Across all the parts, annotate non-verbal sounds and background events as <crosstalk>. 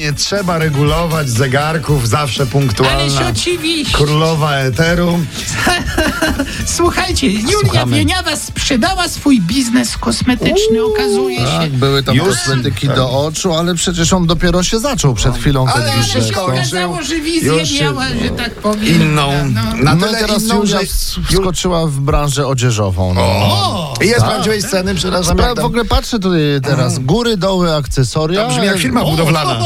Nie trzeba regulować zegarków, zawsze Ależ punktualna. oczywiście. Królowa Eteru. Słuchajcie, Julia Słuchamy. Wieniawa sprzedała swój biznes kosmetyczny, okazuje się. Tak, były tam Już? kosmetyki do oczu, ale przecież on dopiero się zaczął przed chwilą ten Ale- Ale biznes. się Wszystko. okazało, że wizję Już się- miała, że tak powiem. Inną. No. Na No tyle teraz inną, Julia że- wskoczyła w branżę odzieżową. No. I jest prawdziwej sceny, przepraszam. Pra- Jak w tam, ogóle patrzę tutaj teraz, góry, doły, akcesoria. to brzmi jak firma budowlana.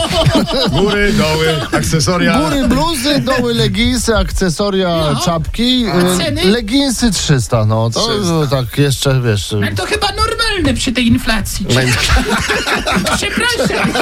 Góry, doły, akcesoria. Góry bluzy, doły leginsy, akcesoria, No. czapki. A Y, ceny? Leginsy 300, no to 300. tak jeszcze, wiesz... y, Ale to chyba normalne przy tej inflacji. <laughs> Przepraszam.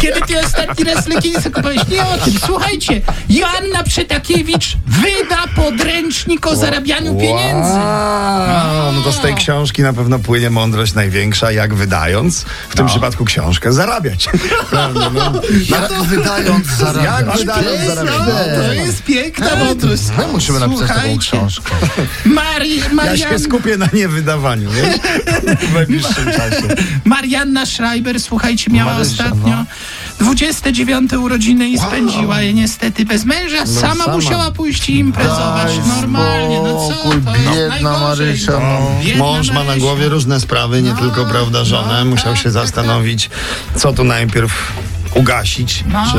Kiedy ty ostatni raz leginsy kupowałeś? Nie o tym. Słuchajcie, Joanna Przetakiewicz wyda podręcznik o zarabianiu pieniędzy. Wow, No to z tej książki na pewno płynie mądrość największa, jak wydając, w tym przypadku książkę, zarabiać. Prawda, no. Jak wydając Jak <laughs> zarabiać? wydając zarabiać? Piękne. To jest piękna To mądrość. jest- My musimy napisać taką Tak. Słuchajcie. książkę. Mari, Ja się Marianna, skupię na niewydawaniu, nie? W najbliższym czasie. Marianna Schreiber, słuchajcie, miała Marysia, no. ostatnio 29 urodziny i spędziła je niestety bez męża. sama, No sama. musiała pójść i imprezować Daj normalnie. No co spokój, to jest biedna najgorzej, Marysia, no. Biedna Mąż ma na Marysia. No, tak, głowie różne sprawy, nie tylko, prawda, żonę. Musiał się zastanowić, co tu najpierw ugasić, No. czy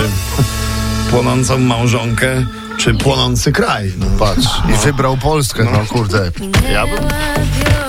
<laughs> płonącą małżonkę, czy płonący kraj. No. Patrz, i wybrał Polskę, no kurde. minęła wiosna.